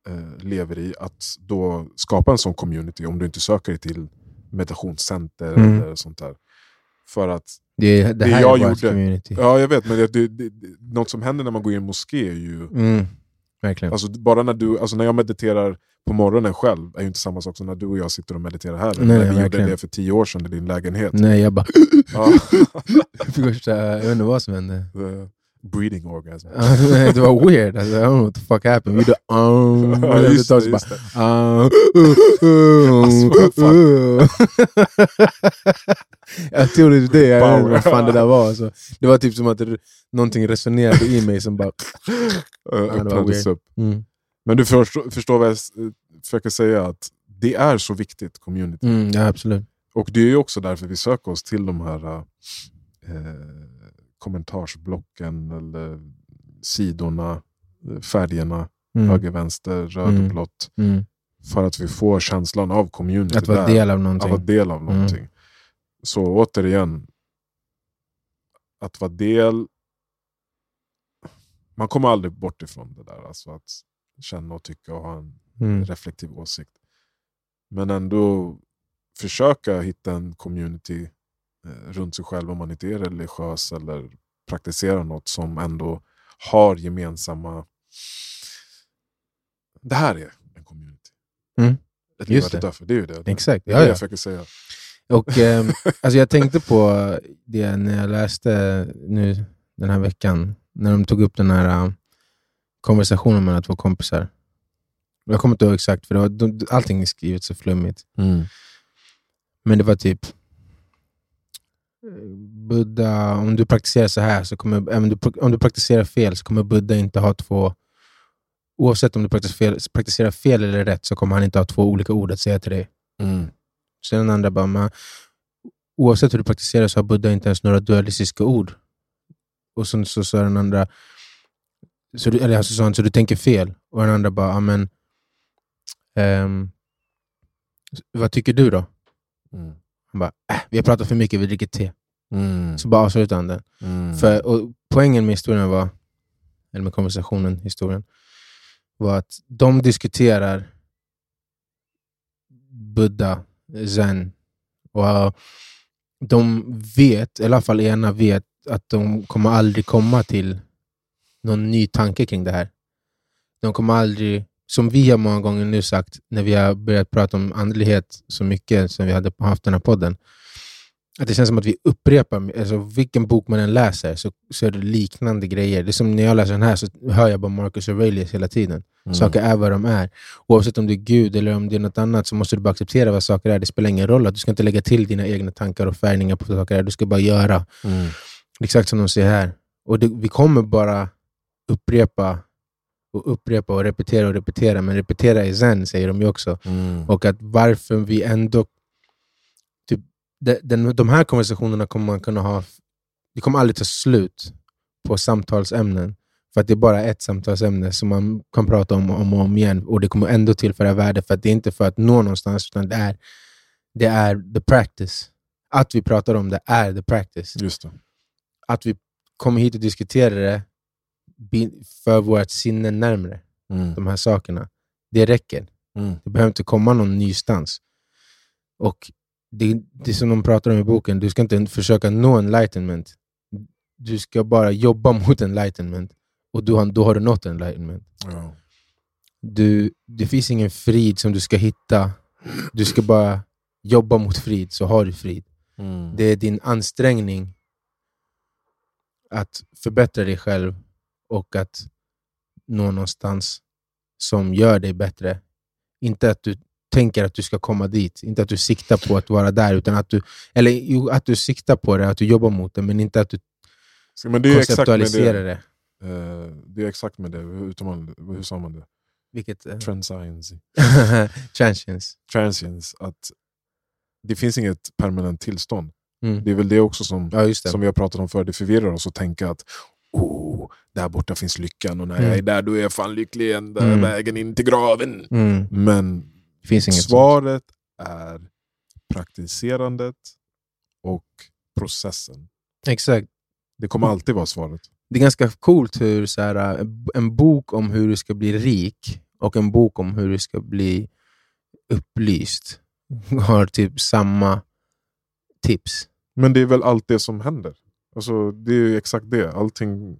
eh, lever i att då skapa en sån community om du inte söker dig till meditationscenter Mm. eller sånt där. För att, Det, är- det Det här jag är vårt gjorde. community. ja jag vet, men det, det, det, något som händer när man går in i en moské är ju... Mm. Verkligen. Alltså, bara när, du, alltså, när jag mediterar på morgonen själv är ju inte samma sak som när du och jag sitter och mediterar här. Nej, när vi verkligen. Mm. gjorde det för tio år sedan i din lägenhet. Nej, jag bara... Ja. Jag fick värsta- jag undrar vad som hände. The breeding orgasm. Ja, det var weird. Alltså, I don't know what the fuck happened. Vi gjorde um, Ja, just det, just det. um, uh, Alltså, Jag tror det är det. Jag vet inte vad Power. fan det där var. Alltså. Det var typ som att det, någonting resonerade i mig som bara... Eh, var öppnades weird. upp. Mm. Men du förstår, förstår vad jag s- eh, försöker säga, att det är så viktigt, community. Mm, ja, absolut. Och det är ju också därför vi söker oss till de här äh, eh, kommentarsblocken, eller sidorna, eh, färgerna, Mm. höger, vänster, röd Mm. och blått. Mm. För att vi får känslan av community Att vara där, del av att vara någonting. Mm. del av någonting. Så återigen, att vara del... Man kommer aldrig bort ifrån det där, alltså att känna och tycka och ha en Mm. reflektiv åsikt. Men ändå försöka hitta en community eh, runt sig själv om man inte är religiös eller praktiserar något som ändå har gemensamma... Det här är en community. Mm. Ett liv Just att det. dö för, det är ju det. Det Exakt. är Ja, det ja. jag försöker säga. Och, ehm, alltså jag tänkte på det när jag läste nu den här veckan, när de tog upp den här eh, konversationen mellan två kompisar. Jag kommer inte ihåg exakt, för det var, de, allting är skrivet så flummigt. Men det var typ, eh, Buddha, om du praktiserar så här, så kommer, även du, om du praktiserar fel så kommer Buddha inte ha två, oavsett om du praktiserar fel, praktiserar fel eller rätt, så kommer han inte ha två olika ord att säga till dig. Så den andra bara, men oavsett hur du praktiserar så har Buddha inte ens några dualistiska ord. Och sen så sa den andra, så du, eller alltså sa han, så du tänker fel. Och den andra bara, "Ja, men ehm, vad tycker du då? Vi har pratat för mycket, vi dricker te. Så bara avslutade han den. Mm. För, och poängen med historien var, eller med konversationen, historien, var att de diskuterar Buddha, äh, Zen, och de vet, i alla fall ena vet, att de kommer aldrig komma till någon ny tanke kring det här. De kommer aldrig, som vi har många gånger nu sagt, när vi har börjat prata om andlighet så mycket som vi hade haft den här podden, att det känns som att vi upprepar, alltså vilken bok man än läser så, så är det liknande grejer. Det är som när jag läser den här så hör jag bara Marcus Aurelius hela tiden. Mm. Saker är vad de är. Oavsett om det är Gud eller om det är något annat så måste du bara acceptera vad saker är. Det spelar ingen roll att du ska inte lägga till dina egna tankar och färgningar på saker är. Du ska bara göra. Mm. Exakt som de säger här. Och det, vi kommer bara upprepa och upprepa och repetera och repetera. Men repetera är zen, säger de ju också. Mm. Och att varför vi ändå... Typ, de, den, de här konversationerna kommer man kunna ha... Det kommer aldrig ta slut på samtalsämnen. För att det är bara ett samtalsämne som man kan prata om och om, och om igen. Och det kommer ändå tillföra värde. För att det är inte för att nå någonstans, utan det är, det är the practice. Att vi pratar om det är the practice Just det. att vi kommer hit och diskuterar det bi- för vårt sinne närmre, Mm. de här sakerna. Det räcker. Mm. Det behöver inte komma någon nystans. Och det, det är som de pratar om i boken, du ska inte försöka nå enlightenment. Du ska bara jobba mot enlightenment. Och du har, då har du nått enlightenment. Ja. Du, det finns ingen frid som du ska hitta. Du ska bara jobba mot frid, så har du frid. Mm. Det är din ansträngning att förbättra dig själv och att nå någonstans som gör dig bättre. Inte att du tänker att du ska komma dit, inte att du siktar på att vara där, utan att du, eller jo, att du siktar på det, att du jobbar mot det, men inte att du Så- Men det är ju exakt med konceptualiserar det. det. Eh, det är exakt med det. Hur, tar man, hur sa man det? Vilket... eh, Transience. Transience. Transience. Att det finns inget permanent tillstånd. Mm. Det är väl det också som Ja, just det. som vi har pratat om förr, det förvirrar oss att tänka att oh, där borta finns lyckan och när Mm. jag är där då är jag fan lycklig igen, där är Mm. vägen in till graven. Mm. Men Det finns inget sånt. svaret är praktiserandet och processen. Exakt. Det kommer Mm. alltid vara svaret. det är ganska coolt hur så här, eh, en bok om hur du ska bli rik och en bok om hur du ska bli upplyst har typ samma tips. Men det är väl allt det som händer. Alltså, det är ju exakt det. Allting...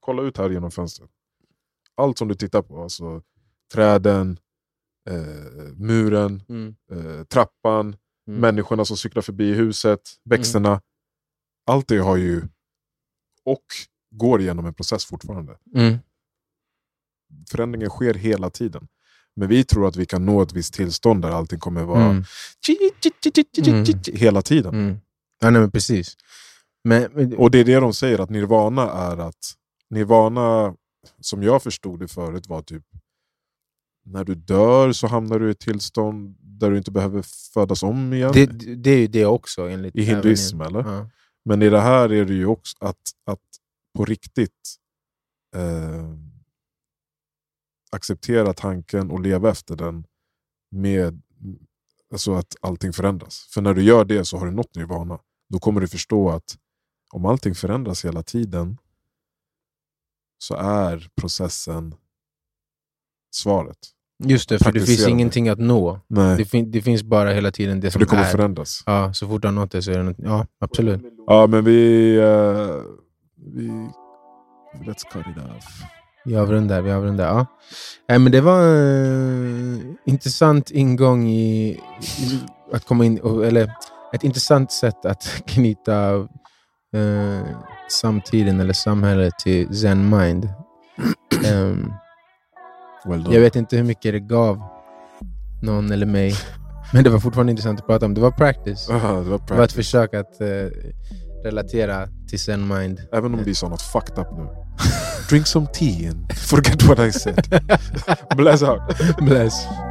Kolla ut här genom fönstret. Allt som du tittar på, alltså träden, eh, muren, eh, trappan, Mm. människorna som cyklar förbi huset, växterna. Allt det har ju och går igenom en process fortfarande. Mm. Förändringen sker hela tiden. Men vi tror att vi kan nå ett visst tillstånd där allting kommer vara Mm. Mm. hela tiden. Mm. Ja, nej, men precis. Men, men, Och det är det de säger, att nirvana är att... Nirvana, som jag förstod det förut, var typ... När du dör så hamnar du i ett tillstånd där du inte behöver födas om igen. det, det är ju det också. Enligt I hinduism, eller? Ja. Men i det här är det ju också att, att på riktigt eh, acceptera tanken och leva efter den med alltså att allting förändras. För när du gör det så har du nått nirvana. Då kommer du förstå att om allting förändras hela tiden så är processen svaret. Just det, för det finns Praktiserande. ingenting att nå. Nej, Det, fin- det finns bara hela tiden det för som det kommer är. förändras. Ja, så fort du har nått det så är det något. Ja, absolut. Ja, men vi... Eh, vi let's cut it off. Vi avrundar, vi avrundar. Ja. Nej, men det var en intressant ingång i, i att komma in, och- eller ett intressant sätt att knyta eh, samtiden eller samhället till Zen Mind. Ehm, Well done. jag vet inte hur mycket det gav någon eller mig, men det var fortfarande intressant att prata om. Det var practice. Aha, det var Det var ett practice. försök att eh, relatera till Zen Mind. Även om det sa något fucked up nu. Drink some tea and forget what I said. Bless out. Bless.